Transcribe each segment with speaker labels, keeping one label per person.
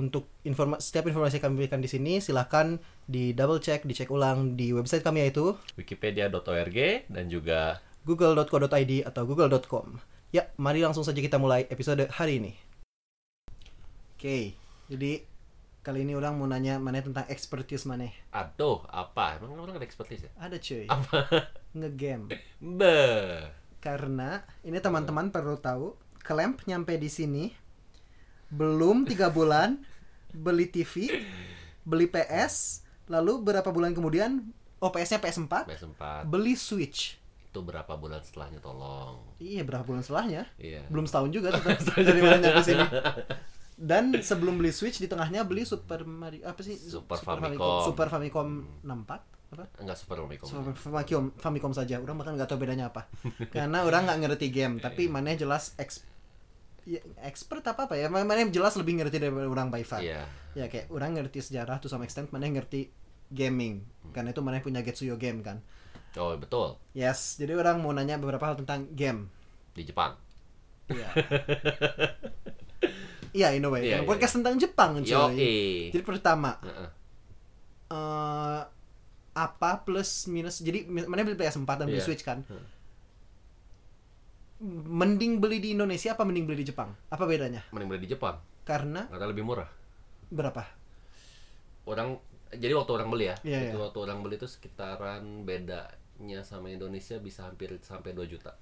Speaker 1: untuk informa setiap informasi yang kami berikan di sini silahkan di double check, dicek ulang di website kami yaitu
Speaker 2: Wikipedia.org dan juga
Speaker 1: google.co.id atau google.com. Ya, mari langsung saja kita mulai episode hari ini. Oke, jadi kali ini orang mau nanya mana tentang expertise mana.
Speaker 2: aduh apa emang orang ada expertise ya?
Speaker 1: Ada cuy,
Speaker 2: Apa?
Speaker 1: ngegame.
Speaker 2: Be.
Speaker 1: Karena ini teman-teman perlu tahu, Clamp nyampe di sini belum tiga bulan beli TV, beli PS, lalu berapa bulan kemudian oh PS-nya PS4,
Speaker 2: Bes sempat
Speaker 1: beli Switch.
Speaker 2: itu berapa bulan setelahnya tolong.
Speaker 1: Iya, berapa bulan setelahnya?
Speaker 2: Iya.
Speaker 1: belum setahun juga tetap dari mana nyampe sini dan sebelum beli Switch di tengahnya beli Super Mario apa sih
Speaker 2: Super Famicom.
Speaker 1: Super Famicom 64 apa
Speaker 2: Enggak super Famicom.
Speaker 1: Super Famicom Famicom saja orang bahkan nggak tahu bedanya apa karena orang nggak ngerti game
Speaker 2: Iya.
Speaker 1: tapi mana jelas eks- ya, expert apa apa ya mana mana jelas lebih ngerti daripada orang by far
Speaker 2: Iya.
Speaker 1: ya kayak orang ngerti sejarah tuh sama extent mana ngerti gaming
Speaker 2: Hmm.
Speaker 1: karena itu mana punya Getsuyo game kan
Speaker 2: Oh betul
Speaker 1: yes jadi orang mau nanya beberapa hal tentang game
Speaker 2: di Jepang.
Speaker 1: Iya. Iya, in a way.
Speaker 2: Iya,
Speaker 1: Karena
Speaker 2: iya,
Speaker 1: podcast tentang Jepang, cuy.
Speaker 2: Yo
Speaker 1: Jadi pertama,
Speaker 2: Heeh.
Speaker 1: eh, apa plus minus? Jadi mi- mana beli PS4 dan beli
Speaker 2: Iya.
Speaker 1: Switch kan?
Speaker 2: Heeh.
Speaker 1: Mending beli di Indonesia apa mending beli di Jepang? Apa bedanya?
Speaker 2: Mending beli di Jepang
Speaker 1: Karena
Speaker 2: karena lebih murah.
Speaker 1: berapa?
Speaker 2: orang jadi waktu orang beli ya
Speaker 1: Iya,
Speaker 2: itu
Speaker 1: iya.
Speaker 2: waktu orang beli itu sekitaran bedanya sama Indonesia bisa hampir sampai 2 juta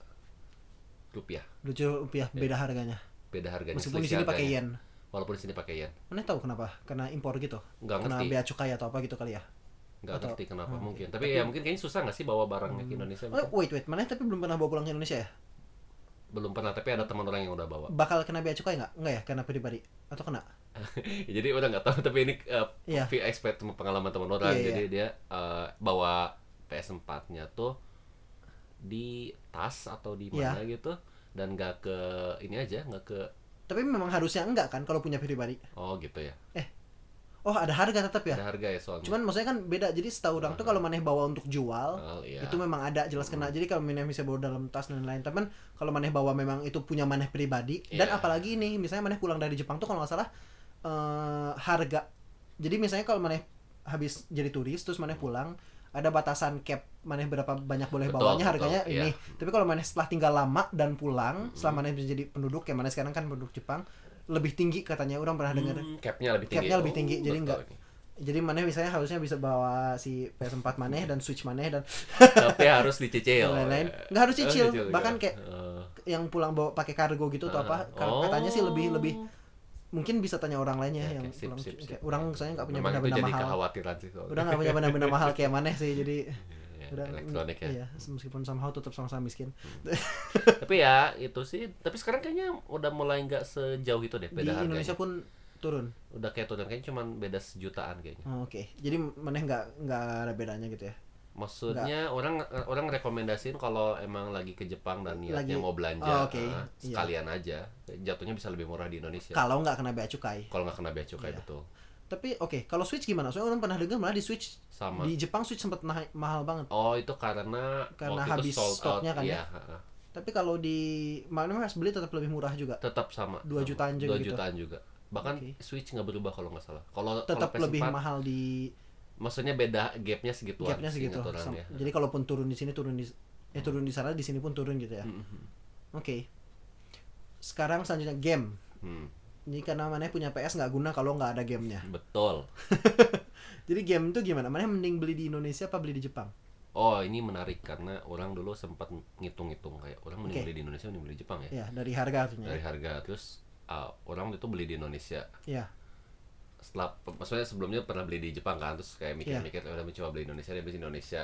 Speaker 2: rupiah
Speaker 1: Lucu rupiah
Speaker 2: Iya.
Speaker 1: beda harganya.
Speaker 2: beda harganya
Speaker 1: Meskipun di sini
Speaker 2: selisih
Speaker 1: pakai
Speaker 2: Iya, ya harganya.
Speaker 1: yen.
Speaker 2: walaupun di sini pakai yen
Speaker 1: Mana tahu kenapa? Karena impor gitu.
Speaker 2: Nggak
Speaker 1: Karena
Speaker 2: ngerti.
Speaker 1: bea cukai atau apa gitu kali ya.
Speaker 2: nggak
Speaker 1: Atau-
Speaker 2: ngerti kenapa mungkin tapi, ya mungkin kayaknya susah nggak sih bawa barangnya ke Indonesia
Speaker 1: Hmm. Oh, wait, wait. Mana tapi belum pernah bawa pulang ke Indonesia ya?
Speaker 2: belum pernah tapi ada teman orang yang udah bawa
Speaker 1: Bakal kena bea cukai nggak? Nggak ya? Karena pribadi? Atau kena?
Speaker 2: Ya, jadi udah nggak tahu tapi ini uh,
Speaker 1: Iya.
Speaker 2: expert teman- pengalaman teman orang
Speaker 1: Iya,
Speaker 2: jadi dia uh, bawa PS4 nya tuh di tas atau di
Speaker 1: Iya.
Speaker 2: mana gitu dan nggak ke ini aja nggak ke
Speaker 1: Tapi memang harusnya enggak kan kalau punya pribadi.
Speaker 2: oh gitu ya
Speaker 1: Oh, ada harga tetap ya.
Speaker 2: ada harga ya soalnya
Speaker 1: Cuman maksudnya kan beda. Jadi setahu orang tuh kalau maneh bawa untuk jual
Speaker 2: Oh, iya.
Speaker 1: itu memang ada jelas kena.
Speaker 2: Hmm.
Speaker 1: Jadi kalau maneh bisa bawa dalam tas dan lain-lain, tapi kan kalau maneh bawa memang itu punya maneh pribadi dan
Speaker 2: Iya.
Speaker 1: apalagi ini misalnya maneh pulang dari Jepang tuh kalau nggak salah eh, harga. Jadi misalnya kalau maneh habis jadi turis terus maneh pulang ada batasan cap maneh berapa banyak boleh
Speaker 2: Betul,
Speaker 1: bawanya
Speaker 2: betul,
Speaker 1: harganya ini.
Speaker 2: iya. Hmm.
Speaker 1: Tapi kalau maneh setelah tinggal lama dan pulang, setelah maneh menjadi penduduk, ya maneh sekarang kan penduduk Jepang lebih tinggi katanya orang pernah dengar
Speaker 2: Hmm, capnya lebih tinggi.
Speaker 1: Capnya lebih tinggi, jadi
Speaker 2: baru
Speaker 1: nggak-
Speaker 2: tahu ini.
Speaker 1: jadi maneh misalnya harusnya bisa bawa si PS4 maneh dan Switch maneh dan
Speaker 2: Tapi harus dicicil.
Speaker 1: Dan lain-lain.
Speaker 2: Ya.
Speaker 1: Nggak harus cicil,
Speaker 2: juga.
Speaker 1: bahkan kayak
Speaker 2: Eh,
Speaker 1: yang pulang bawa pakai kargo gitu atau apa
Speaker 2: eh,
Speaker 1: Kar- katanya sih lebih
Speaker 2: oh.
Speaker 1: lebih mungkin bisa tanya orang lainnya
Speaker 2: Ya,
Speaker 1: yang
Speaker 2: oke, sip,
Speaker 1: pulang
Speaker 2: sip, sip.
Speaker 1: kayak orang soalnya nggak punya
Speaker 2: Memang itu
Speaker 1: benda-benda
Speaker 2: jadi
Speaker 1: mahal
Speaker 2: kekhawatiran sih soalnya.
Speaker 1: udah nggak punya benda-benda mahal kayak maneh sih jadi
Speaker 2: Iya,
Speaker 1: udah
Speaker 2: elektronik ya.
Speaker 1: iya meskipun somehow tetap sama-sama miskin
Speaker 2: Tapi ya itu sih. Tapi sekarang kayaknya udah mulai nggak sejauh itu deh
Speaker 1: di
Speaker 2: beda
Speaker 1: Indonesia
Speaker 2: harganya.
Speaker 1: pun turun
Speaker 2: Udah kayak tuh kayaknya cuman beda sejutaan kayaknya.
Speaker 1: Oh, oke jadi maneh nggak nggak ada bedanya gitu ya
Speaker 2: Maksudnya orang orang rekomendasiin kalau emang lagi ke Jepang dan niatnya
Speaker 1: Lagi-
Speaker 2: mau
Speaker 1: Oh,
Speaker 2: belanja
Speaker 1: oke.
Speaker 2: eh,
Speaker 1: Iya.
Speaker 2: sekalian aja jatuhnya bisa lebih murah di Indonesia.
Speaker 1: kalau nggak kena bea cukai
Speaker 2: Kalau nggak kena bea cukai
Speaker 1: Iya.
Speaker 2: betul.
Speaker 1: tapi oke kalau switch gimana soalnya orang pernah dengar malah di switch
Speaker 2: Sama.
Speaker 1: di Jepang switch sempat nah- mahal banget
Speaker 2: Oh itu karena
Speaker 1: Karena
Speaker 2: waktu
Speaker 1: habis
Speaker 2: itu sold
Speaker 1: stoknya kan
Speaker 2: out,
Speaker 1: ya?
Speaker 2: iya, heeh.
Speaker 1: Tapi kalau di mana harus beli tetap lebih murah juga.
Speaker 2: Tetap sama.
Speaker 1: Dua
Speaker 2: sama.
Speaker 1: jutaan juga
Speaker 2: Dua
Speaker 1: gitu.
Speaker 2: jutaan juga. Bahkan
Speaker 1: Oke.
Speaker 2: Switch nggak berubah kalau nggak salah. Kalau
Speaker 1: Tetap
Speaker 2: kalau PS4,
Speaker 1: lebih mahal di
Speaker 2: Maksudnya beda gapnya segituan.
Speaker 1: gapnya segitu.
Speaker 2: seingat orang
Speaker 1: Sam-
Speaker 2: ya.
Speaker 1: Jadi kalaupun turun di sini turun di eh turun di sana di sini pun turun gitu ya.
Speaker 2: Hmm.
Speaker 1: Oke. Sekarang selanjutnya game.
Speaker 2: Hmm,
Speaker 1: Ini karena mana punya PS nggak guna kalau nggak ada gamenya.
Speaker 2: betul.
Speaker 1: Jadi game itu gimana? Mana mending beli di Indonesia apa beli di Jepang?
Speaker 2: Oh ini menarik karena orang dulu sempat ngitung-ngitung kayak orang mending
Speaker 1: Oke.
Speaker 2: beli di Indonesia mending beli di Jepang ya.
Speaker 1: Ya dari harga artinya.
Speaker 2: Dari harga terus ah, orang itu beli di Indonesia
Speaker 1: Ya.
Speaker 2: setelah maksudnya sebelumnya pernah beli di Jepang kan terus kayak mikir-mikir
Speaker 1: Iya.
Speaker 2: "Eh, udah mencoba beli Indonesia dia beli Indonesia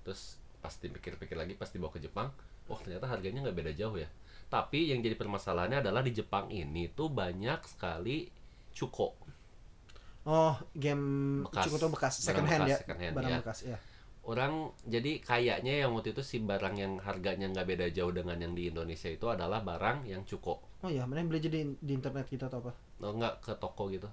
Speaker 2: terus pasti pikir-pikir lagi pasti bawa ke Jepang wah ternyata harganya nggak beda jauh ya tapi yang jadi permasalahannya adalah di Jepang ini tuh banyak sekali cuko
Speaker 1: Oh, game
Speaker 2: Bekas.
Speaker 1: cukup tuh bekas, second
Speaker 2: Barang
Speaker 1: hand
Speaker 2: bekas,
Speaker 1: ya.
Speaker 2: second hand,
Speaker 1: barang
Speaker 2: ya.
Speaker 1: bekas ya.
Speaker 2: orang jadi kayaknya yang waktu itu si barang yang harganya nggak beda jauh dengan yang di Indonesia itu adalah barang yang cukup
Speaker 1: Oh iya, mending beli jadi di internet gitu atau apa?
Speaker 2: no nggak ke toko gitu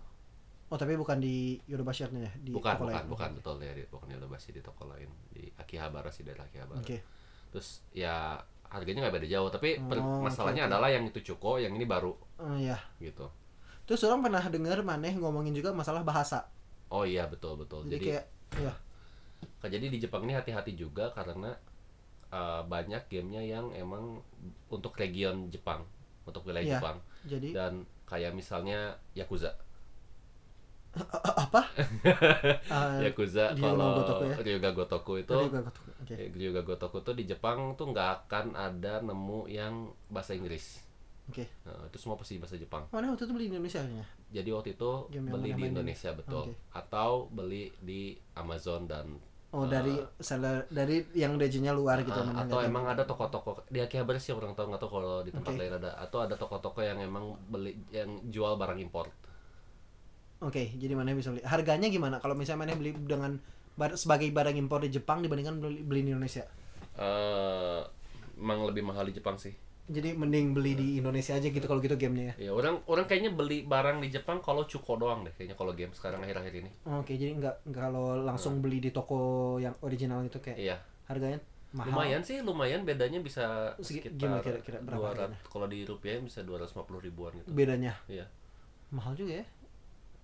Speaker 1: Oh, tapi bukan di Yorubashirnya ya, di
Speaker 2: bukan
Speaker 1: toko
Speaker 2: bukan
Speaker 1: lain.
Speaker 2: bukan betul dari bukan Yodobasi di toko lain di Akihabara sih daerah Akihabara
Speaker 1: Oke.
Speaker 2: terus ya harganya nggak beda jauh tapi per-
Speaker 1: Oh, oke, oke.
Speaker 2: masalahnya adalah yang itu cukup yang ini baru
Speaker 1: Oh iya.
Speaker 2: gitu
Speaker 1: Terus orang pernah dengar maneh ngomongin juga masalah bahasa.
Speaker 2: oh iya betul betul
Speaker 1: Jadi,
Speaker 2: jadi
Speaker 1: kayak ya,
Speaker 2: Nah, jadi di Jepang ini hati-hati juga karena eh, banyak gamenya yang emang untuk region Jepang, untuk wilayah
Speaker 1: Iya.
Speaker 2: Jepang
Speaker 1: jadi
Speaker 2: dan kayak misalnya Yakuza.
Speaker 1: A- a- apa? Eh,
Speaker 2: Yakuza
Speaker 1: Ryuga
Speaker 2: kalau
Speaker 1: Gotoku ya?
Speaker 2: Ryuga Gotoku itu eh,
Speaker 1: tadi gua ketuk- Oke.
Speaker 2: Ryuga Gotoku tuh di Jepang tuh nggak akan ada nemu yang bahasa Inggris.
Speaker 1: Oke.
Speaker 2: Nah, itu semua pasti bahasa Jepang.
Speaker 1: Mana waktu itu beli di Indonesia kayaknya?
Speaker 2: Jadi waktu itu
Speaker 1: Game yang mana
Speaker 2: beli di
Speaker 1: mainin?
Speaker 2: Indonesia betul
Speaker 1: Oke.
Speaker 2: atau beli di Amazon dan
Speaker 1: Oh, dari seller dari yang regionnya luar gitu
Speaker 2: Ah,
Speaker 1: mana
Speaker 2: Eh, atau
Speaker 1: liatnya.
Speaker 2: emang ada toko-toko di Akihabara sih orang tahu nggak tahu kalau di tempat
Speaker 1: Oke.
Speaker 2: lain ada atau ada toko-toko yang emang beli yang jual barang impor
Speaker 1: Oke, jadi mana bisa beli? Harganya gimana kalau misalnya mana beli dengan bar- sebagai barang impor di Jepang dibandingkan beli, beli di Indonesia?
Speaker 2: eh emang lebih mahal di Jepang sih
Speaker 1: Jadi mending beli di Indonesia aja gitu kalau gitu gamenya ya.
Speaker 2: ya orang orang kayaknya beli barang di Jepang kalau cuko doang deh kayaknya kalau game sekarang akhir-akhir ini
Speaker 1: Oke, jadi nggak nggak kalau langsung beli di toko yang original itu kayak
Speaker 2: Hmm. iya
Speaker 1: harganya Eh, mahal.
Speaker 2: lumayan sih lumayan bedanya bisa
Speaker 1: Segi-
Speaker 2: sekitar
Speaker 1: gimana kira-kira berapa
Speaker 2: 200 kalau di rupiah bisa 250 ribuan gitu
Speaker 1: Bedanya
Speaker 2: iya
Speaker 1: mahal juga ya.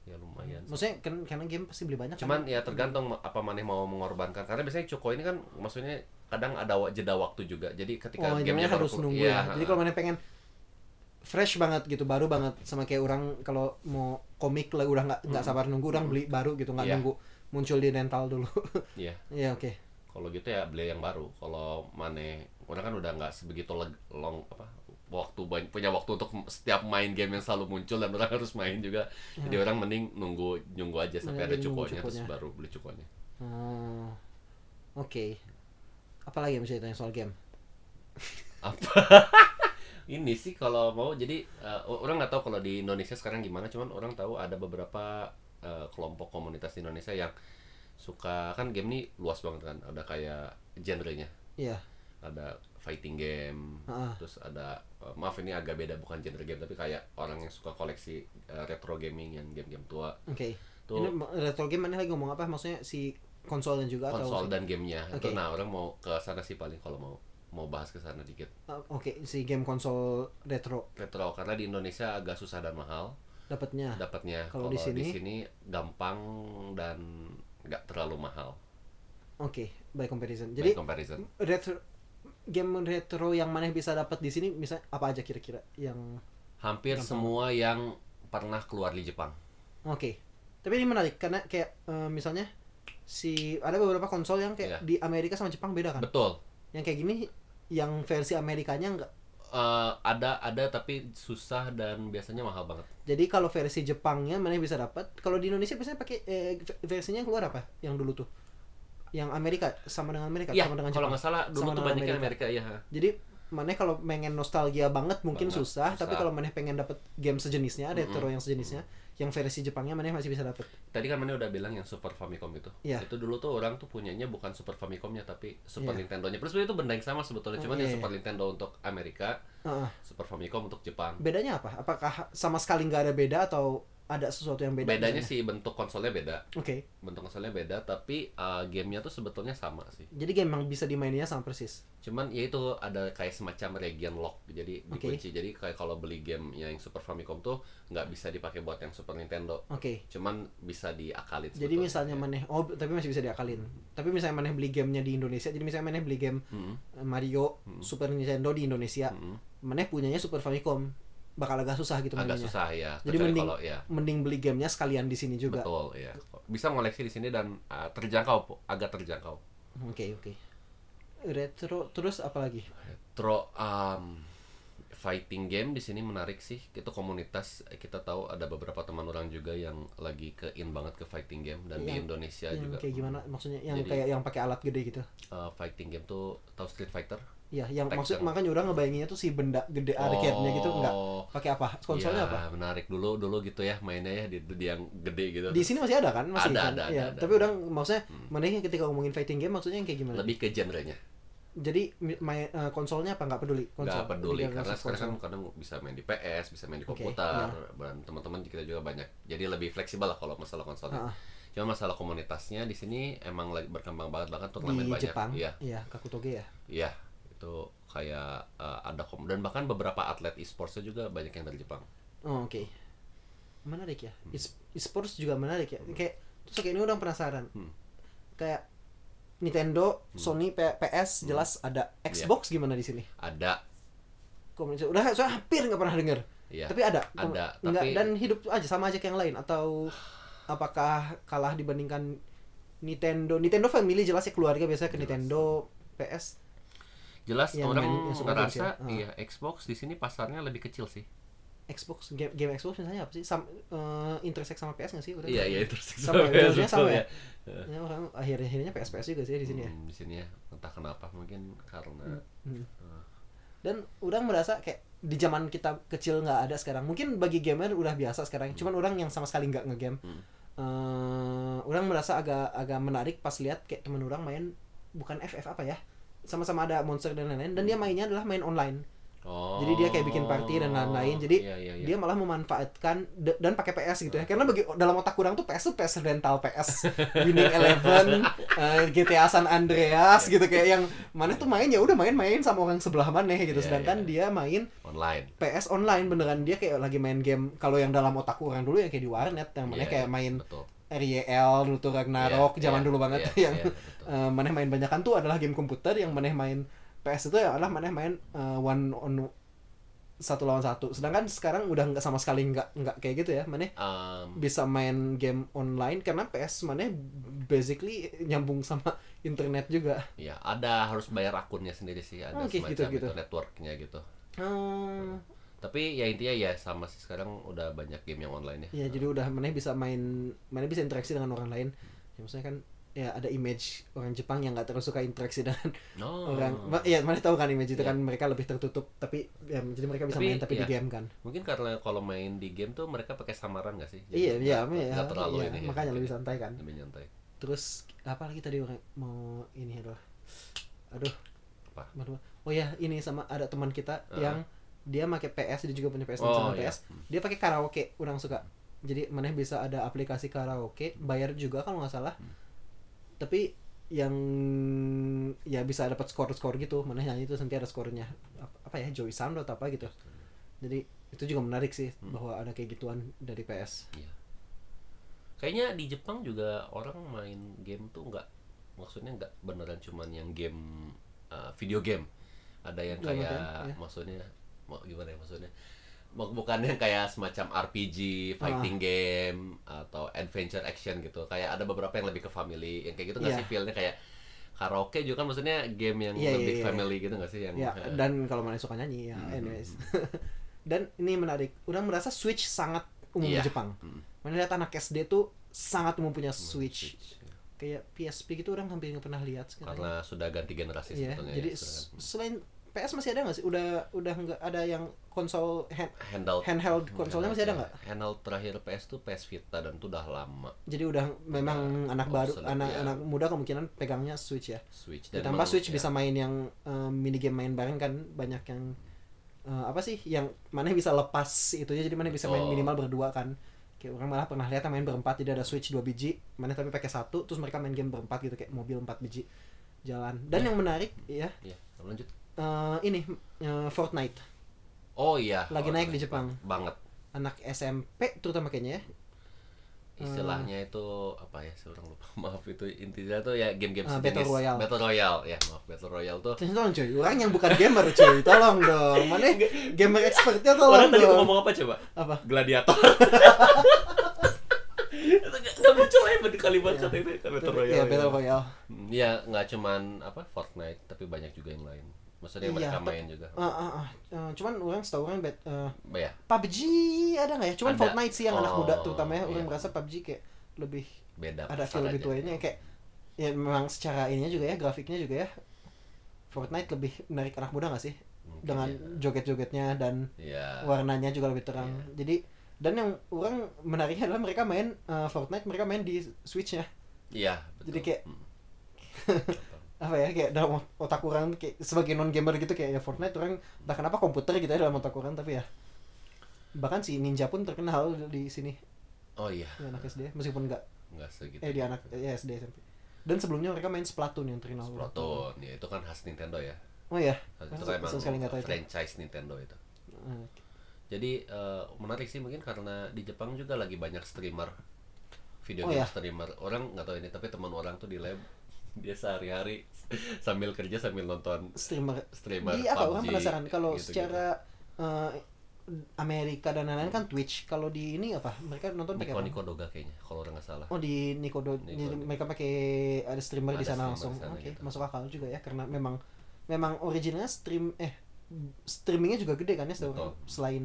Speaker 2: ya lumayan sih.
Speaker 1: Maksudnya kan karena game pasti beli banyak.
Speaker 2: cuman
Speaker 1: kan?
Speaker 2: ya tergantung ma- apa maneh mau mengorbankan karena biasanya cuko ini kan maksudnya kadang ada wa- jeda waktu juga jadi ketika
Speaker 1: oh,
Speaker 2: gamenya
Speaker 1: gamenya
Speaker 2: baru
Speaker 1: harus
Speaker 2: keluar-
Speaker 1: nunggu
Speaker 2: iya,
Speaker 1: ya. Jadi
Speaker 2: ha-ha.
Speaker 1: kalau mana pengen fresh banget gitu baru banget sama kayak orang kalau mau komik lah udah nggak nggak sabar nunggu orang beli baru gitu nggak
Speaker 2: Hmm. Iya.
Speaker 1: nunggu muncul di rental dulu.
Speaker 2: Iya,
Speaker 1: Iya oke.
Speaker 2: kalau gitu ya beli yang baru. Kalau Mane, orang kan udah nggak sebegitu leg- long apa waktu bany- punya waktu untuk m- setiap main game yang selalu muncul dan orang harus main juga. Jadi orang mending nunggu nunggu aja sampai ada
Speaker 1: Mending Ya. Iya, nunggu
Speaker 2: cukonya terus
Speaker 1: cukonya.
Speaker 2: baru beli cukonya.
Speaker 1: Oh, oke. Apalagi yang bisa ditanya soal game?
Speaker 2: Apa? Ini sih kalau mau jadi eh, orang nggak tahu kalau di Indonesia sekarang gimana, cuman orang tahu ada beberapa eh, kelompok komunitas di Indonesia yang suka kan game ini luas banget kan, ada kayak genrenya.
Speaker 1: Iya.
Speaker 2: ada fighting game,
Speaker 1: Heeh.
Speaker 2: terus ada eh, maaf ini agak beda bukan genre game tapi kayak orang yang suka koleksi eh, retro gaming yang game-game tua
Speaker 1: Oke.
Speaker 2: Tuh.
Speaker 1: Ini ma- retro game mana lagi ngomong apa? Maksudnya si konsolnya juga
Speaker 2: konsol
Speaker 1: atau?
Speaker 2: dan gamenya
Speaker 1: Oke.
Speaker 2: itu nah orang mau ke sana sih paling kalau mau mau bahas ke sana dikit
Speaker 1: Uh, Oke, si game konsol retro
Speaker 2: retro karena di Indonesia agak susah dan mahal
Speaker 1: dapatnya. Ah,
Speaker 2: dapatnya
Speaker 1: Kalau di
Speaker 2: kalau di,
Speaker 1: sini?
Speaker 2: sini gampang dan nggak terlalu mahal
Speaker 1: Oke, by comparison.
Speaker 2: jadi
Speaker 1: Jadi
Speaker 2: comparison
Speaker 1: retro game retro yang mana bisa dapat di sini bisa apa aja kira-kira yang
Speaker 2: hampir semua yang pernah keluar di Jepang
Speaker 1: oke tapi ini menarik karena kayak eh, misalnya si ada beberapa konsol yang kayak
Speaker 2: Iya.
Speaker 1: di Amerika sama Jepang beda kan
Speaker 2: betul
Speaker 1: yang kayak gini yang versi Amerikanya nggak
Speaker 2: Eh, ada ada tapi susah dan biasanya mahal banget
Speaker 1: Jadi kalau versi Jepangnya mana bisa dapat? Kalau di Indonesia biasanya pakai eh, v- versinya yang keluar apa? Yang dulu tuh. Yang Amerika sama dengan Amerika
Speaker 2: Iya,
Speaker 1: sama dengan
Speaker 2: kalau
Speaker 1: Jepang.
Speaker 2: nggak salah dulu
Speaker 1: Sama
Speaker 2: tuh
Speaker 1: dengan
Speaker 2: banyak yang Amerika ya.
Speaker 1: Jadi mana kalau pengen nostalgia banget mungkin
Speaker 2: Banget,
Speaker 1: susah, tapi
Speaker 2: susah.
Speaker 1: kalau mana pengen dapat game sejenisnya, retro
Speaker 2: Mm-mm.
Speaker 1: yang sejenisnya, yang versi Jepangnya mana masih bisa dapat.
Speaker 2: Tadi kan Mane udah bilang yang Super Famicom itu.
Speaker 1: Iya.
Speaker 2: Itu dulu tuh orang tuh punyanya bukan Super Famicomnya tapi Super
Speaker 1: Iya.
Speaker 2: Nintendo-nya. Terus itu benda yang sama sebetulnya,
Speaker 1: Oh,
Speaker 2: cuman
Speaker 1: iya,
Speaker 2: yang
Speaker 1: iya.
Speaker 2: Super Nintendo untuk Amerika,
Speaker 1: Heeh.
Speaker 2: Super Famicom untuk Jepang.
Speaker 1: bedanya apa? Apakah sama sekali nggak ada beda atau ada sesuatu yang beda?
Speaker 2: Bedanya
Speaker 1: misalnya?
Speaker 2: sih bentuk konsolnya beda,
Speaker 1: Oke.
Speaker 2: bentuk konsolnya beda, tapi eh, gamenya tuh sebetulnya sama sih.
Speaker 1: Jadi game yang bisa dimaininnya sama persis.
Speaker 2: Cuman ya itu ada kayak semacam region lock, jadi
Speaker 1: Oke.
Speaker 2: dikunci. Jadi kayak kalau beli game yang Super Famicom tuh nggak bisa dipakai buat yang Super Nintendo,
Speaker 1: Oke.
Speaker 2: cuman bisa diakalin.
Speaker 1: Jadi
Speaker 2: sebetulnya.
Speaker 1: misalnya maneh oh tapi masih bisa diakalin. Tapi misalnya maneh beli gamenya di Indonesia, jadi misalnya maneh beli game
Speaker 2: Mm-mm.
Speaker 1: eh, Mario
Speaker 2: Hmm.
Speaker 1: Super Nintendo di Indonesia,
Speaker 2: Mm-mm.
Speaker 1: maneh punyanya Super Famicom bakal agak susah gitu
Speaker 2: agak
Speaker 1: mainnya.
Speaker 2: susah ya.
Speaker 1: Jadi
Speaker 2: Kecuali
Speaker 1: mending
Speaker 2: kalau ya
Speaker 1: mending beli gamenya sekalian di sini juga.
Speaker 2: Betul, ya. Bisa ngoleksi di sini dan uh, terjangkau, Po. agak terjangkau.
Speaker 1: Oke oke. Retro terus apa lagi?
Speaker 2: Retro um, fighting game di sini menarik sih. Itu komunitas kita tahu ada beberapa teman orang juga yang lagi ke in banget ke fighting game dan di
Speaker 1: Yang- Iya.
Speaker 2: Indonesia
Speaker 1: yang
Speaker 2: Ya juga
Speaker 1: kayak gimana maksudnya yang
Speaker 2: Jadi-
Speaker 1: kayak yang pakai alat gede gitu
Speaker 2: eh, fighting game tuh tahu Street Fighter.
Speaker 1: ya yang
Speaker 2: Tekken.
Speaker 1: maksud makanya orang ngebayanginnya tuh si benda gede arcade-nya gitu enggak
Speaker 2: Oh,
Speaker 1: pakai apa konsolnya apa
Speaker 2: iya, menarik dulu dulu gitu ya mainnya ya di, di yang gede gitu.
Speaker 1: di sini masih ada kan masih
Speaker 2: Ada,
Speaker 1: kan?
Speaker 2: ada, ada,
Speaker 1: Ya,
Speaker 2: ada. Hmm.
Speaker 1: tapi udah maksudnya menariknya ketika ngomongin fighting game maksudnya yang kayak gimana
Speaker 2: lebih ke genrenya.
Speaker 1: jadi mi- main eh, konsolnya apa nggak peduli konsol
Speaker 2: nggak peduli
Speaker 1: Jadi
Speaker 2: karena
Speaker 1: versus
Speaker 2: sekarang kan
Speaker 1: konsol.
Speaker 2: kadang bisa main di PS bisa main di
Speaker 1: Oke, iya.
Speaker 2: komputer dan teman-teman kita juga banyak jadi lebih fleksibel lah kalau masalah konsolnya
Speaker 1: Ah,
Speaker 2: cuma masalah komunitasnya di sini emang lagi berkembang banget bahkan
Speaker 1: di
Speaker 2: turnamen banyak
Speaker 1: Jepang
Speaker 2: iya
Speaker 1: iya Kakutoge ya
Speaker 2: iya itu kayak eh, ada kom dan bahkan beberapa atlet e-sportsnya juga banyak yang dari Jepang
Speaker 1: oh, oke menarik ya
Speaker 2: Hmm.
Speaker 1: Es- esports juga menarik ya kayak terus kayak ini orang penasaran
Speaker 2: Hmm.
Speaker 1: kayak Nintendo Sony P-
Speaker 2: Hmm.
Speaker 1: PS jelas ada
Speaker 2: Iya.
Speaker 1: Xbox gimana di sini
Speaker 2: ada
Speaker 1: komunitas udah soalnya hampir nggak pernah dengar
Speaker 2: iya
Speaker 1: tapi ada Kom-
Speaker 2: ada
Speaker 1: nggak
Speaker 2: tapi
Speaker 1: dan hidup aja sama aja kayak yang lain atau apakah kalah dibandingkan Nintendo Nintendo family jelas ya keluarga biasanya ke
Speaker 2: Jelas.
Speaker 1: Nintendo PS
Speaker 2: jelas
Speaker 1: yang
Speaker 2: orang
Speaker 1: main- yang suka games ya.
Speaker 2: ngerasa
Speaker 1: Ah.
Speaker 2: iya Xbox di sini pasarnya lebih kecil sih
Speaker 1: Xbox game, game Xbox misalnya apa sih Sam, eh, intersect sama PS nggak sih udah
Speaker 2: iya iya terus
Speaker 1: Sama, harusnya sama ya?
Speaker 2: Heeh.
Speaker 1: Ya, orang akhirnya akhirnya PS PS juga sih di sini ya
Speaker 2: Hmm, di sini ya entah kenapa mungkin karena
Speaker 1: Hmm.
Speaker 2: Ah.
Speaker 1: dan orang merasa kayak di zaman kita kecil nggak ada sekarang mungkin bagi gamer udah biasa sekarang cuman orang yang sama sekali nggak ngegame
Speaker 2: Hmm.
Speaker 1: eh, orang merasa agak agak menarik pas lihat kayak temen orang main bukan FF apa ya sama-sama ada monster dan lain-lain dan dia
Speaker 2: Hmm.
Speaker 1: mainnya adalah main online
Speaker 2: Oh.
Speaker 1: Jadi dia kayak bikin party dan lain-lain. Jadi
Speaker 2: Iya, iya, iya.
Speaker 1: dia malah memanfaatkan d- dan pakai PS gitu ya karena bagi dalam otak kurang tuh PS tuh PS rental PS Winning Eleven eh, GTA San Andreas gitu kayak yang mana tuh main ya udah main-main sama orang sebelah mana gitu
Speaker 2: Iya,
Speaker 1: sedangkan dia main
Speaker 2: online.
Speaker 1: PS online beneran dia kayak lagi main game kalau yang dalam otak kurang dulu ya kayak di warnet yang mana
Speaker 2: Iya,
Speaker 1: kayak
Speaker 2: iya,
Speaker 1: main
Speaker 2: betul.
Speaker 1: Riel, Naruto Ragnarok
Speaker 2: Iya,
Speaker 1: zaman
Speaker 2: iya,
Speaker 1: dulu banget
Speaker 2: iya,
Speaker 1: yang
Speaker 2: iya, betul.
Speaker 1: eh, maneh main banyak kan tuh adalah game komputer yang maneh main PS itu ya adalah maneh main eh, one on satu lawan satu. Sedangkan sekarang udah nggak sama sekali nggak nggak kayak gitu ya. Maneh
Speaker 2: Um,
Speaker 1: bisa main game online karena PS maneh basically nyambung sama internet juga.
Speaker 2: ya ada harus bayar akunnya sendiri sih ada
Speaker 1: Oke,
Speaker 2: semacam
Speaker 1: gitu-gitu.
Speaker 2: itu networknya gitu.
Speaker 1: Hmm,
Speaker 2: Tapi ya intinya ya sama sih sekarang udah banyak game yang online
Speaker 1: ya
Speaker 2: ya.
Speaker 1: jadi udah maneh bisa main maneh bisa interaksi dengan orang lain. Ya, maksudnya kan ya ada image orang Jepang yang nggak terlalu suka interaksi dengan
Speaker 2: No.
Speaker 1: orang ma- ya mana tahu kan image itu
Speaker 2: Oh. Iya.
Speaker 1: kan mereka lebih tertutup tapi ya, jadi mereka bisa
Speaker 2: Tapi,
Speaker 1: main tapi di
Speaker 2: iya.
Speaker 1: game kan
Speaker 2: Mungkin karena kalau main di game tuh mereka pakai samaran gak sih?
Speaker 1: iya iya
Speaker 2: nggak-
Speaker 1: iya,
Speaker 2: nggak terlalu
Speaker 1: iya,
Speaker 2: ini. ya,
Speaker 1: makanya
Speaker 2: mungkin
Speaker 1: lebih
Speaker 2: ya.
Speaker 1: santai kan
Speaker 2: Lebih nyantai.
Speaker 1: terus apa lagi tadi orang mau ini aduh aduh
Speaker 2: Apa?
Speaker 1: Aduh. oh ya ini sama ada teman kita
Speaker 2: Heeh.
Speaker 1: yang dia pakai PS dia juga punya PS
Speaker 2: Oh,
Speaker 1: sama
Speaker 2: iya.
Speaker 1: PS dia pakai karaoke orang suka jadi mana bisa ada aplikasi karaoke bayar juga kalau nggak salah
Speaker 2: Hmm.
Speaker 1: tapi yang ya bisa dapat skor skor gitu mana nyanyi itu nanti ada skornya apa, apa ya Joy Sound atau apa gitu jadi itu juga menarik sih
Speaker 2: Hmm.
Speaker 1: bahwa ada kayak gituan dari PS
Speaker 2: Kayaknya di Jepang juga orang main game tuh nggak maksudnya nggak beneran cuman yang game uh, video game. Ada yang
Speaker 1: Dalam
Speaker 2: kayak
Speaker 1: artian, ya.
Speaker 2: maksudnya mau gimana ya maksudnya? Bu- Bukan yang kayak semacam RPG,
Speaker 1: Ah.
Speaker 2: fighting game atau adventure action gitu. Kayak ada beberapa yang lebih ke family, yang kayak gitu nggak
Speaker 1: Iya.
Speaker 2: sih feel-nya kayak karaoke juga kan maksudnya game yang
Speaker 1: Iya, iya,
Speaker 2: lebih
Speaker 1: iya,
Speaker 2: family gitu nggak sih yang
Speaker 1: ya
Speaker 2: eh,
Speaker 1: dan kalau mana suka nyanyi ya
Speaker 2: Hmm.
Speaker 1: anyways dan ini menarik orang merasa Switch sangat umum
Speaker 2: Iya.
Speaker 1: di Jepang
Speaker 2: Mm,
Speaker 1: mana lihat anak SD tuh sangat umum punya Switch
Speaker 2: ya.
Speaker 1: kayak PSP gitu orang hampir nggak pernah lihat sekarang
Speaker 2: Karena sudah ganti generasi
Speaker 1: Iya,
Speaker 2: sebetulnya
Speaker 1: jadi
Speaker 2: ya, sudah
Speaker 1: s-
Speaker 2: kan.
Speaker 1: selain PS masih ada nggak sih udah udah nggak ada yang konsol hand
Speaker 2: handheld ya.
Speaker 1: Handheld konsolnya masih ada nggak?
Speaker 2: Handheld terakhir PS tuh PS Vita dan itu udah lama
Speaker 1: jadi udah memang anak baru
Speaker 2: obsolete,
Speaker 1: anak
Speaker 2: ya.
Speaker 1: anak muda kemungkinan pegangnya Switch ya
Speaker 2: Switch dan
Speaker 1: ditambah
Speaker 2: emang-
Speaker 1: Switch
Speaker 2: ya,
Speaker 1: bisa main yang eh, mini game main bareng kan banyak yang eh, apa sih yang mana bisa lepas itunya jadi mana bisa main
Speaker 2: Betul.
Speaker 1: minimal berdua kan kayak orang malah pernah lihat yang main berempat jadi ada Switch dua biji mana tapi pakai satu terus mereka main game berempat gitu kayak mobil empat biji jalan
Speaker 2: Iya.
Speaker 1: dan yang menarik ya
Speaker 2: ya lanjut
Speaker 1: eh, ini eh, Fortnite
Speaker 2: oh iya
Speaker 1: Lagi
Speaker 2: Oh,
Speaker 1: naik
Speaker 2: iya.
Speaker 1: di Jepang.
Speaker 2: banget
Speaker 1: anak SMP terutama kayaknya ya Hmm.
Speaker 2: istilahnya itu apa ya seorang lupa maaf itu intinya tuh ya game-game
Speaker 1: Ah,
Speaker 2: sejenis
Speaker 1: Battle Royale.
Speaker 2: battle royale ya maaf battle royale tuh
Speaker 1: Tolong cuy, orang yang bukan gamer cuy, tolong dong. Mana gamer expertnya tolong
Speaker 2: orang tadi mau
Speaker 1: dong.
Speaker 2: ngomong apa coba
Speaker 1: Apa?
Speaker 2: gladiator Itu nggak nggak muncul ya di kalimat kata itu battle royale ya.
Speaker 1: Iya, Battle Royale.
Speaker 2: Hmm, ya nggak cuman apa Fortnite tapi banyak juga yang lain Maksudnya
Speaker 1: Iya,
Speaker 2: mereka
Speaker 1: tapi-
Speaker 2: main juga.
Speaker 1: Ah, ah, ah. Eh, cuman orang setahu orang bet, eh,
Speaker 2: ya.
Speaker 1: PUBG ada nggak ya? Cuman
Speaker 2: Ada.
Speaker 1: Fortnite sih yang anak
Speaker 2: Oh,
Speaker 1: muda terutama ya. Orang
Speaker 2: iya.
Speaker 1: merasa PUBG kayak lebih
Speaker 2: Beda.
Speaker 1: ada feel
Speaker 2: pasar
Speaker 1: lebih
Speaker 2: aja.
Speaker 1: tua ini kayak ya memang secara ininya juga ya grafiknya juga ya Fortnite lebih menarik anak muda nggak sih
Speaker 2: Mungkin
Speaker 1: dengan
Speaker 2: ya.
Speaker 1: joget-jogetnya dan
Speaker 2: Iya.
Speaker 1: warnanya juga lebih terang. Jadi dan yang orang menariknya adalah mereka main eh, Fortnite mereka main di Switch ya.
Speaker 2: Iya,
Speaker 1: Jadi kayak-
Speaker 2: Hmm.
Speaker 1: Apa ya kayak dalam ot- otak orang kayak sebagai non gamer gitu kayak ya Fortnite orang entah kenapa komputer gitu ya dalam otak orang tapi ya bahkan si Ninja pun terkenal di sini
Speaker 2: Oh iya,
Speaker 1: di anak SD meskipun enggak
Speaker 2: enggak segitu.
Speaker 1: eh di anak eh, SD SMP. Dan sebelumnya mereka main Splatoon yang terkenal.
Speaker 2: Splatoon, ya itu kan khas Nintendo ya.
Speaker 1: Oh ya.
Speaker 2: Itu
Speaker 1: Sama-
Speaker 2: kan emang
Speaker 1: sama sekali nggak tahu itu. Eh,
Speaker 2: franchise Nintendo itu. Jadi eh, menarik sih mungkin karena di Jepang juga lagi banyak streamer video
Speaker 1: Oh,
Speaker 2: game
Speaker 1: ya?
Speaker 2: streamer. Orang nggak tahu ini tapi teman orang tuh di lab dia sehari-hari sambil kerja sambil nonton
Speaker 1: Streamer
Speaker 2: streamer
Speaker 1: Iya, apa
Speaker 2: PUBG,
Speaker 1: orang penasaran kalau
Speaker 2: gitu-gitu.
Speaker 1: secara eh, Amerika dan lain-lain kan Twitch. Kalau di ini apa? Mereka nonton pakai
Speaker 2: Niko
Speaker 1: apa?
Speaker 2: Niko Doga kayaknya kalau orang nggak salah.
Speaker 1: Oh di Nikodo,
Speaker 2: Nikodo.
Speaker 1: jadi mereka pakai ada streamer di
Speaker 2: iya.
Speaker 1: sana
Speaker 2: Ada streamer
Speaker 1: langsung.
Speaker 2: di sana
Speaker 1: Oke,
Speaker 2: gitu.
Speaker 1: masuk akal juga ya karena memang memang originalnya stream eh streamingnya juga gede kan ya setahu
Speaker 2: Betul.
Speaker 1: aku. selain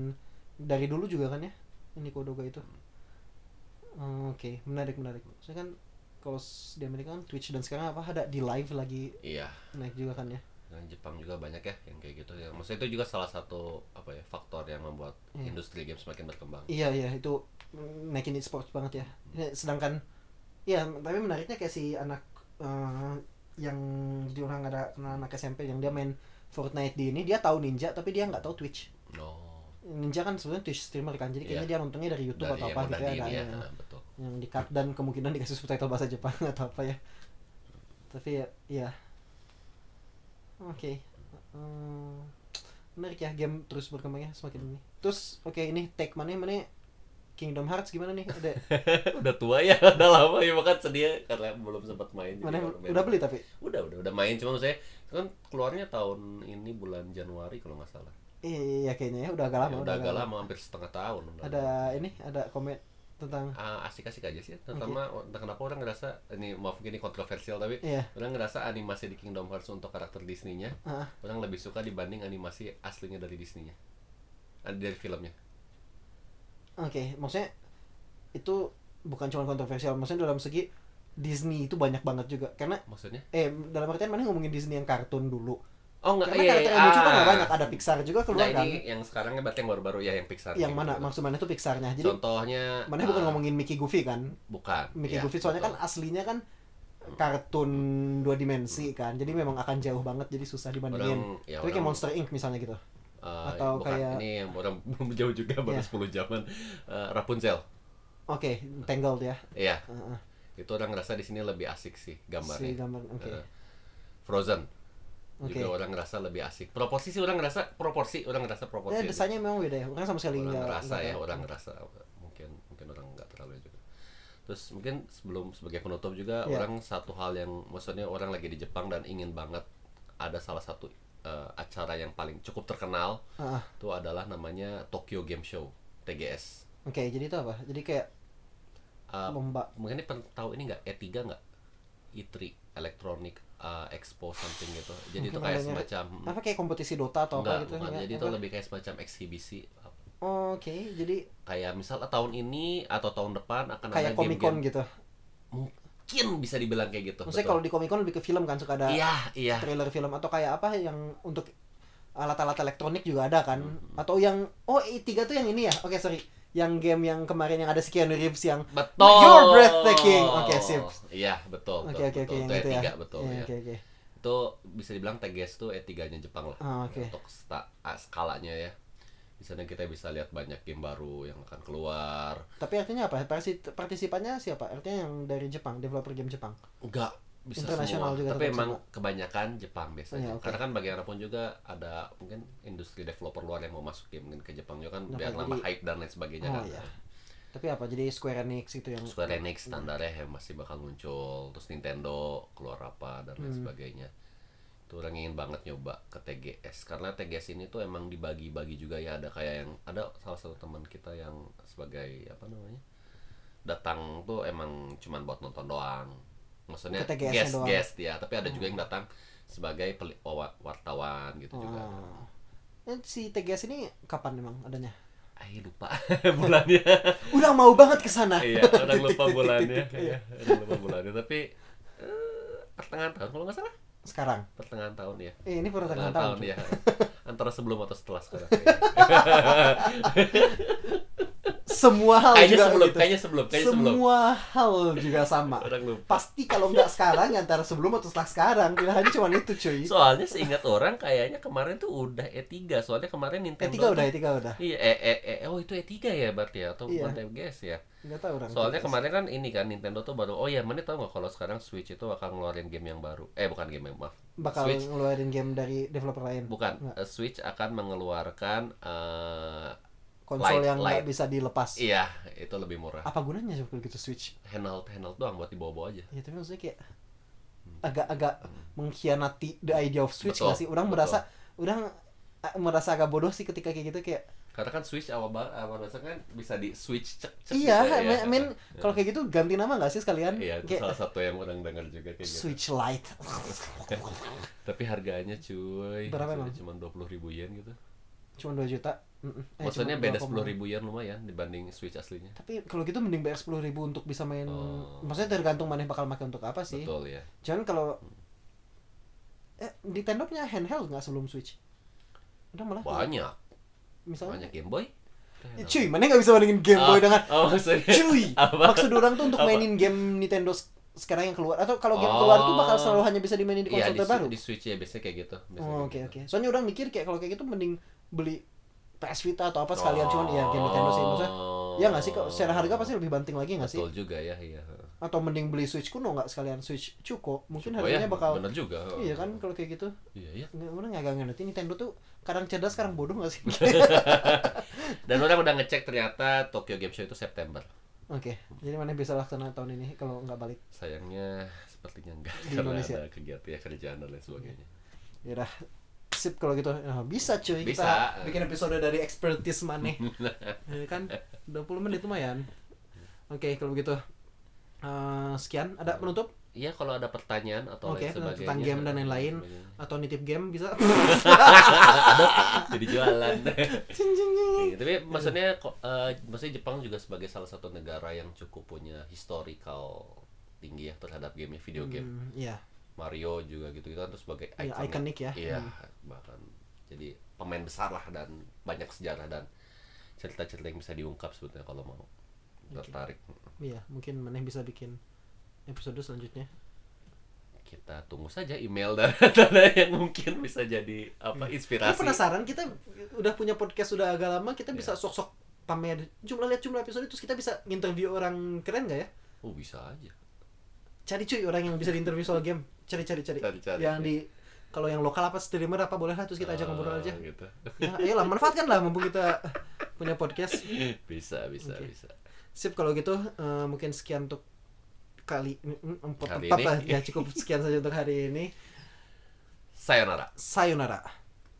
Speaker 1: dari dulu juga kan ya Nikodoga itu. Hmm, Oke, menarik menarik. Saya kan kalau s- di Amerika kan Twitch dan sekarang apa ada di live lagi
Speaker 2: Iya,
Speaker 1: naik juga kan ya.
Speaker 2: dan Jepang juga banyak ya yang kayak gitu. Ya. Maksudnya itu juga salah satu apa ya faktor yang membuat
Speaker 1: Iya.
Speaker 2: industri game semakin berkembang.
Speaker 1: Iya iya itu mm, naikin e-sports banget ya. Ya, Sedangkan ya tapi menariknya kayak si anak eh, yang jadi orang ada kenal anak SMP yang dia main Fortnite di ini dia tahu Ninja tapi dia nggak tahu Twitch.
Speaker 2: No.
Speaker 1: Ninja kan sebenarnya Twitch streamer kan jadi kayaknya
Speaker 2: Iya.
Speaker 1: dia nontonnya dari YouTube atau
Speaker 2: yang
Speaker 1: apa
Speaker 2: udah
Speaker 1: gitu ya,
Speaker 2: di
Speaker 1: ada
Speaker 2: ini ya,
Speaker 1: yang,
Speaker 2: nah, betul.
Speaker 1: yang di cut dan kemungkinan dikasih subtitle bahasa Jepang atau apa ya. Tapi ya ya. Oke. Hmm, menarik ya game terus berkembangnya semakin ini. Terus oke ini take mana mana Kingdom Hearts gimana nih? Ada
Speaker 2: udah tua ya, udah lama ya makan sedih karena belum sempat main. jadi
Speaker 1: Mana
Speaker 2: baru main.
Speaker 1: udah beli tapi?
Speaker 2: Udah, udah, udah main cuma saya kan keluarnya tahun ini bulan Januari kalau nggak salah.
Speaker 1: Iya kayaknya ya udah agak lama.
Speaker 2: Ya, udah agak lama, hampir setengah tahun. udah.
Speaker 1: Ada ini ada komen tentang
Speaker 2: Ah, asik-asik aja sih, terutama entah kenapa orang ngerasa ini maaf mungkin ini kontroversial tapi
Speaker 1: iya.
Speaker 2: orang ngerasa animasi di Kingdom Hearts untuk karakter Disney-nya
Speaker 1: Ah,
Speaker 2: orang lebih suka dibanding animasi aslinya dari Disney-nya. Ah, Dari filmnya.
Speaker 1: Oke, maksudnya itu bukan cuma kontroversial, maksudnya dalam segi Disney itu banyak banget juga karena
Speaker 2: Maksudnya?
Speaker 1: eh dalam artian mana ngomongin Disney yang kartun dulu.
Speaker 2: Oh enggak,
Speaker 1: Karena karakter yang lucu kan nggak banyak, ada Pixar juga keluar
Speaker 2: Nah,
Speaker 1: kan.
Speaker 2: ini yang sekarang berarti yang baru-baru ya yang Pixar.
Speaker 1: Yang
Speaker 2: Gitu.
Speaker 1: mana maksud mana itu Pixarnya. Jadi
Speaker 2: Contohnya
Speaker 1: mana bukan
Speaker 2: ah,
Speaker 1: ngomongin Mickey Goofy kan?
Speaker 2: bukan.
Speaker 1: Mickey
Speaker 2: Ya,
Speaker 1: Goofy soalnya
Speaker 2: betul.
Speaker 1: kan aslinya kan kartun dua dimensi kan. Jadi memang akan jauh banget jadi susah dibandingin.
Speaker 2: orang ya
Speaker 1: Tapi kayak
Speaker 2: orang,
Speaker 1: Monster Inc misalnya gitu.
Speaker 2: eh,
Speaker 1: atau
Speaker 2: bukan,
Speaker 1: kayak-
Speaker 2: ini yang orang belum jauh juga
Speaker 1: Iya.
Speaker 2: baru 10 jaman Eh, Rapunzel.
Speaker 1: Oke, Tangled ya.
Speaker 2: Iya,
Speaker 1: Heeh.
Speaker 2: itu orang ngerasa di sini lebih asik sih
Speaker 1: si
Speaker 2: gambarnya.
Speaker 1: gambar. Oke.
Speaker 2: Eh, Frozen
Speaker 1: Oke.
Speaker 2: juga orang ngerasa lebih asik. Proporsi sih orang ngerasa proporsi, orang ngerasa
Speaker 1: Eh,
Speaker 2: proporsi. aja.
Speaker 1: desainnya memang beda ya. Orang sama sekali
Speaker 2: orang
Speaker 1: nggak
Speaker 2: ngerasa
Speaker 1: nggak-
Speaker 2: ya orang ngerasa mungkin mungkin orang nggak terlalu juga terus mungkin sebelum sebagai penutup juga
Speaker 1: Iya.
Speaker 2: orang satu hal yang maksudnya orang lagi di Jepang dan ingin banget ada salah satu eh, acara yang paling cukup terkenal
Speaker 1: Ah, ah.
Speaker 2: itu adalah namanya Tokyo Game Show TGS
Speaker 1: Oke, jadi itu apa? Jadi kayak
Speaker 2: Eh,
Speaker 1: lomba.
Speaker 2: mungkin ini pernah tahu ini nggak E3 nggak E3 Electronic eh, Expo something gitu jadi itu
Speaker 1: Mungkin
Speaker 2: kayak
Speaker 1: adanya-
Speaker 2: semacam
Speaker 1: Apa kayak kompetisi Dota atau
Speaker 2: Nggak,
Speaker 1: apa gitu?
Speaker 2: bukan.
Speaker 1: nggak?
Speaker 2: jadi itu
Speaker 1: Apa?
Speaker 2: lebih kayak semacam eksibisi
Speaker 1: Oke, jadi
Speaker 2: kayak misal tahun ini atau tahun depan akan
Speaker 1: kayak
Speaker 2: ada
Speaker 1: Comic Con
Speaker 2: game-game
Speaker 1: gitu.
Speaker 2: mungkin bisa dibilang kayak gitu.
Speaker 1: Maksudnya kalau
Speaker 2: betul.
Speaker 1: di Comic Con lebih ke film kan suka ada
Speaker 2: iya iya
Speaker 1: trailer film atau kayak apa yang untuk alat-alat elektronik juga ada kan?
Speaker 2: Hmm,
Speaker 1: Atau yang oh E3 tuh yang ini ya? Oke, sorry. Yang game yang kemarin yang ada si Keanu Reeves yang
Speaker 2: betul.
Speaker 1: Nah, You're breathtaking. Oke, sip.
Speaker 2: Iya betul.
Speaker 1: Oke, oke,
Speaker 2: betul,
Speaker 1: oke, yang
Speaker 2: betul. Itu
Speaker 1: gitu ya.
Speaker 2: E3, betul.
Speaker 1: Iya,
Speaker 2: ya.
Speaker 1: Oke, oke.
Speaker 2: Itu bisa dibilang TGS tuh E3-nya Jepang lah.
Speaker 1: Ah, oke.
Speaker 2: Untuk sta- ah, skalanya ya. Di sana kita bisa lihat banyak game baru yang akan keluar.
Speaker 1: Tapi artinya apa? Parsi- Partisipannya siapa? Artinya yang dari Jepang, developer game Jepang.
Speaker 2: Enggak bisa
Speaker 1: Internasional
Speaker 2: semua.
Speaker 1: juga
Speaker 2: Tapi
Speaker 1: tetap
Speaker 2: emang kebanyakan Jepang biasanya.
Speaker 1: Iya, oke.
Speaker 2: Karena kan bagaimanapun juga ada mungkin industri developer luar yang mau masuk game mungkin ke Jepang juga kan
Speaker 1: Nah,
Speaker 2: biar
Speaker 1: jadi-
Speaker 2: nambah hype dan lain sebagainya
Speaker 1: Oh
Speaker 2: kan.
Speaker 1: iya. Tapi apa? Jadi Square Enix itu yang
Speaker 2: Square Enix standarnya yang masih bakal muncul terus Nintendo keluar apa dan
Speaker 1: Hmm.
Speaker 2: lain sebagainya itu orang ingin banget nyoba ke TGS karena TGS ini tuh emang dibagi-bagi juga ya ada kayak yang ada salah satu teman kita yang sebagai apa namanya datang tuh emang cuman buat nonton doang maksudnya
Speaker 1: Ke TGS -nya
Speaker 2: guest
Speaker 1: doang. Hmm.
Speaker 2: guest ya tapi ada juga yang datang sebagai peli- wa- wartawan gitu juga.
Speaker 1: Oh. Eh, si TGS ini kapan emang adanya?
Speaker 2: Ayo lupa bulannya.
Speaker 1: Udah mau banget ke sana.
Speaker 2: iya, kadang lupa bulannya. Iya, kadang lupa bulannya. Tapi eh, pertengahan tahun kalau nggak salah.
Speaker 1: Sekarang.
Speaker 2: Pertengahan tahun ya.
Speaker 1: Eh, ini pertengahan
Speaker 2: Pertengahan
Speaker 1: tahun.
Speaker 2: tahun
Speaker 1: cuy.
Speaker 2: ya. Antara sebelum atau setelah sekarang. Eh,
Speaker 1: Semua hal
Speaker 2: kayaknya
Speaker 1: juga
Speaker 2: sebelum,
Speaker 1: gitu.
Speaker 2: kayaknya sebelum, kayaknya sebelum.
Speaker 1: Semua hal juga sama.
Speaker 2: Orang lupa.
Speaker 1: Pasti kalau nggak sekarang ya antara sebelum atau setelah sekarang pilihannya cuma itu cuy.
Speaker 2: Soalnya seingat orang kayaknya kemarin tuh udah E3. Soalnya kemarin Nintendo
Speaker 1: Etika Eh, E udah,
Speaker 2: tuh-
Speaker 1: etika udah.
Speaker 2: Iya, eh, eh, eh, oh itu E3 ya berarti ya atau
Speaker 1: Iya.
Speaker 2: bukan TGS ya.
Speaker 1: Nggak tahu orang.
Speaker 2: Soalnya
Speaker 1: TGS.
Speaker 2: kemarin kan ini kan Nintendo tuh baru oh ya mana tahu nggak kalau sekarang Switch itu bakal ngeluarin game yang baru. Eh bukan game yang maaf.
Speaker 1: bakal
Speaker 2: Switch
Speaker 1: ngeluarin game dari developer lain.
Speaker 2: bukan
Speaker 1: Nggak.
Speaker 2: Eh, Switch akan mengeluarkan eh
Speaker 1: Konsol
Speaker 2: Lite,
Speaker 1: yang nggak
Speaker 2: Lite.
Speaker 1: bisa dilepas.
Speaker 2: iya itu lebih murah.
Speaker 1: Apa gunanya sih kalau gitu Switch?
Speaker 2: Handheld handheld doang buat dibawa-bawa aja.
Speaker 1: Ya tapi maksudnya kayak agak-agak mengkhianati the idea of Switch
Speaker 2: Betul,
Speaker 1: nggak sih? Orang
Speaker 2: betul.
Speaker 1: merasa orang eh, merasa agak bodoh sih ketika kayak gitu kayak
Speaker 2: Karena kan Switch awal ba- awal masa kan bisa di switch cek cek.
Speaker 1: iya,
Speaker 2: gitu ya.
Speaker 1: I mean, kalau kayak gitu ganti nama nggak sih sekalian?
Speaker 2: Iya, itu
Speaker 1: kayak
Speaker 2: salah satu yang orang dengar juga kayak gitu.
Speaker 1: Switch Lite.
Speaker 2: Tapi harganya cuy,
Speaker 1: Berapa emang?
Speaker 2: cuma 20 ribu yen gitu.
Speaker 1: Cuma 2 juta. Mm-mm. Eh,
Speaker 2: Maksudnya
Speaker 1: cuma
Speaker 2: beda
Speaker 1: 2,0.
Speaker 2: 10 ribu yen lumayan dibanding Switch aslinya.
Speaker 1: Tapi kalau gitu mending bayar 10.000 untuk bisa main.
Speaker 2: Oh.
Speaker 1: Maksudnya tergantung mana yang bakal pakai untuk apa Iya sih.
Speaker 2: Betul ya.
Speaker 1: Cuman kalau eh Nintendo punya handheld nggak sebelum Switch? Udah malah
Speaker 2: Banyak,
Speaker 1: misalnya
Speaker 2: banyak Game Boy.
Speaker 1: Ya, cuy, mana nggak bisa bandingin Game Boy
Speaker 2: Oh,
Speaker 1: dengan
Speaker 2: oh, maksudnya
Speaker 1: cuy.
Speaker 2: apa?
Speaker 1: Maksud orang tuh untuk
Speaker 2: Apa? Oh.
Speaker 1: mainin game Nintendo se- sekarang yang keluar atau kalau game keluar tuh bakal selalu hanya bisa dimainin di
Speaker 2: Iya,
Speaker 1: konsol
Speaker 2: di,
Speaker 1: terbaru.
Speaker 2: di Switch ya biasanya kayak gitu. Biasanya
Speaker 1: Oh,
Speaker 2: kayak
Speaker 1: oke
Speaker 2: gitu.
Speaker 1: oke. Soalnya orang mikir kayak kalau kayak gitu mending beli PS Vita atau apa sekalian
Speaker 2: Oh.
Speaker 1: cuman ya game Nintendo sih maksudnya. Ya nggak sih kalau secara harga pasti lebih banting lagi nggak sih?
Speaker 2: Betul juga ya, iya.
Speaker 1: Atau mending beli Switch kuno nggak sekalian Switch Cuko? Mungkin
Speaker 2: Oh,
Speaker 1: harganya
Speaker 2: ya,
Speaker 1: bakal
Speaker 2: bener juga.
Speaker 1: Iya kan kalau kayak gitu.
Speaker 2: Iya, iya.
Speaker 1: Nggak, orang agak ngerti Nintendo tuh kadang cerdas sekarang bodoh gak sih?
Speaker 2: Dan orang udah ngecek ternyata Tokyo Game Show itu September.
Speaker 1: Oke, jadi mana bisa laksana tahun ini kalau nggak balik?
Speaker 2: Sayangnya sepertinya enggak
Speaker 1: Di
Speaker 2: karena
Speaker 1: Indonesia.
Speaker 2: ada kegiatan ya, kerjaan dan lain sebagainya.
Speaker 1: Yaudah, Ya sip kalau gitu. Nah, bisa cuy,
Speaker 2: Bisa.
Speaker 1: kita bikin episode dari expertise maneh. ya kan, 20 menit lumayan. Oke, kalau begitu. Eh, sekian, ada penutup?
Speaker 2: Iya, kalau ada pertanyaan atau
Speaker 1: Oke,
Speaker 2: lain sebagainya
Speaker 1: tentang game dan lain-lain. Atau nitip game bisa?
Speaker 2: Jadi jualan.
Speaker 1: Cing, cing, cing.
Speaker 2: Iya, tapi maksudnya ko- eh, maksudnya Jepang juga sebagai salah satu negara yang cukup punya historical tinggi ya terhadap game video game
Speaker 1: Hmm, Iya,
Speaker 2: Mario juga gitu gitu kan terus sebagai
Speaker 1: Iya, ikonik ya.
Speaker 2: iya bahkan jadi pemain besar lah dan banyak sejarah dan cerita-cerita yang bisa diungkap sebetulnya kalau mau tertarik
Speaker 1: iya. Mungkin maneh bisa bikin episode selanjutnya.
Speaker 2: kita tunggu saja email dan dan yang mungkin bisa jadi apa
Speaker 1: Tapi Hmm.
Speaker 2: inspirasi
Speaker 1: penasaran kita udah punya podcast sudah agak lama kita
Speaker 2: Iya.
Speaker 1: bisa sok-sok pamer jumlah lihat jumlah episode terus kita bisa interview orang keren gak ya?
Speaker 2: oh bisa aja
Speaker 1: Cari cuy orang yang bisa diinterview soal game. Cari cari cari.
Speaker 2: Cari, cari,
Speaker 1: yang
Speaker 2: ya.
Speaker 1: di kalau yang lokal apa streamer apa boleh lah terus kita ajak
Speaker 2: Ah,
Speaker 1: ngobrol aja.
Speaker 2: gitu
Speaker 1: Ya, ayolah manfaatkanlah mumpung kita punya podcast.
Speaker 2: bisa bisa
Speaker 1: Oke.
Speaker 2: bisa
Speaker 1: Sip kalau gitu eh, mungkin sekian untuk kali mm, mm, empat
Speaker 2: Kali
Speaker 1: empat
Speaker 2: ini.
Speaker 1: lah. ya cukup sekian saja untuk hari ini.
Speaker 2: sayonara
Speaker 1: Sayonara.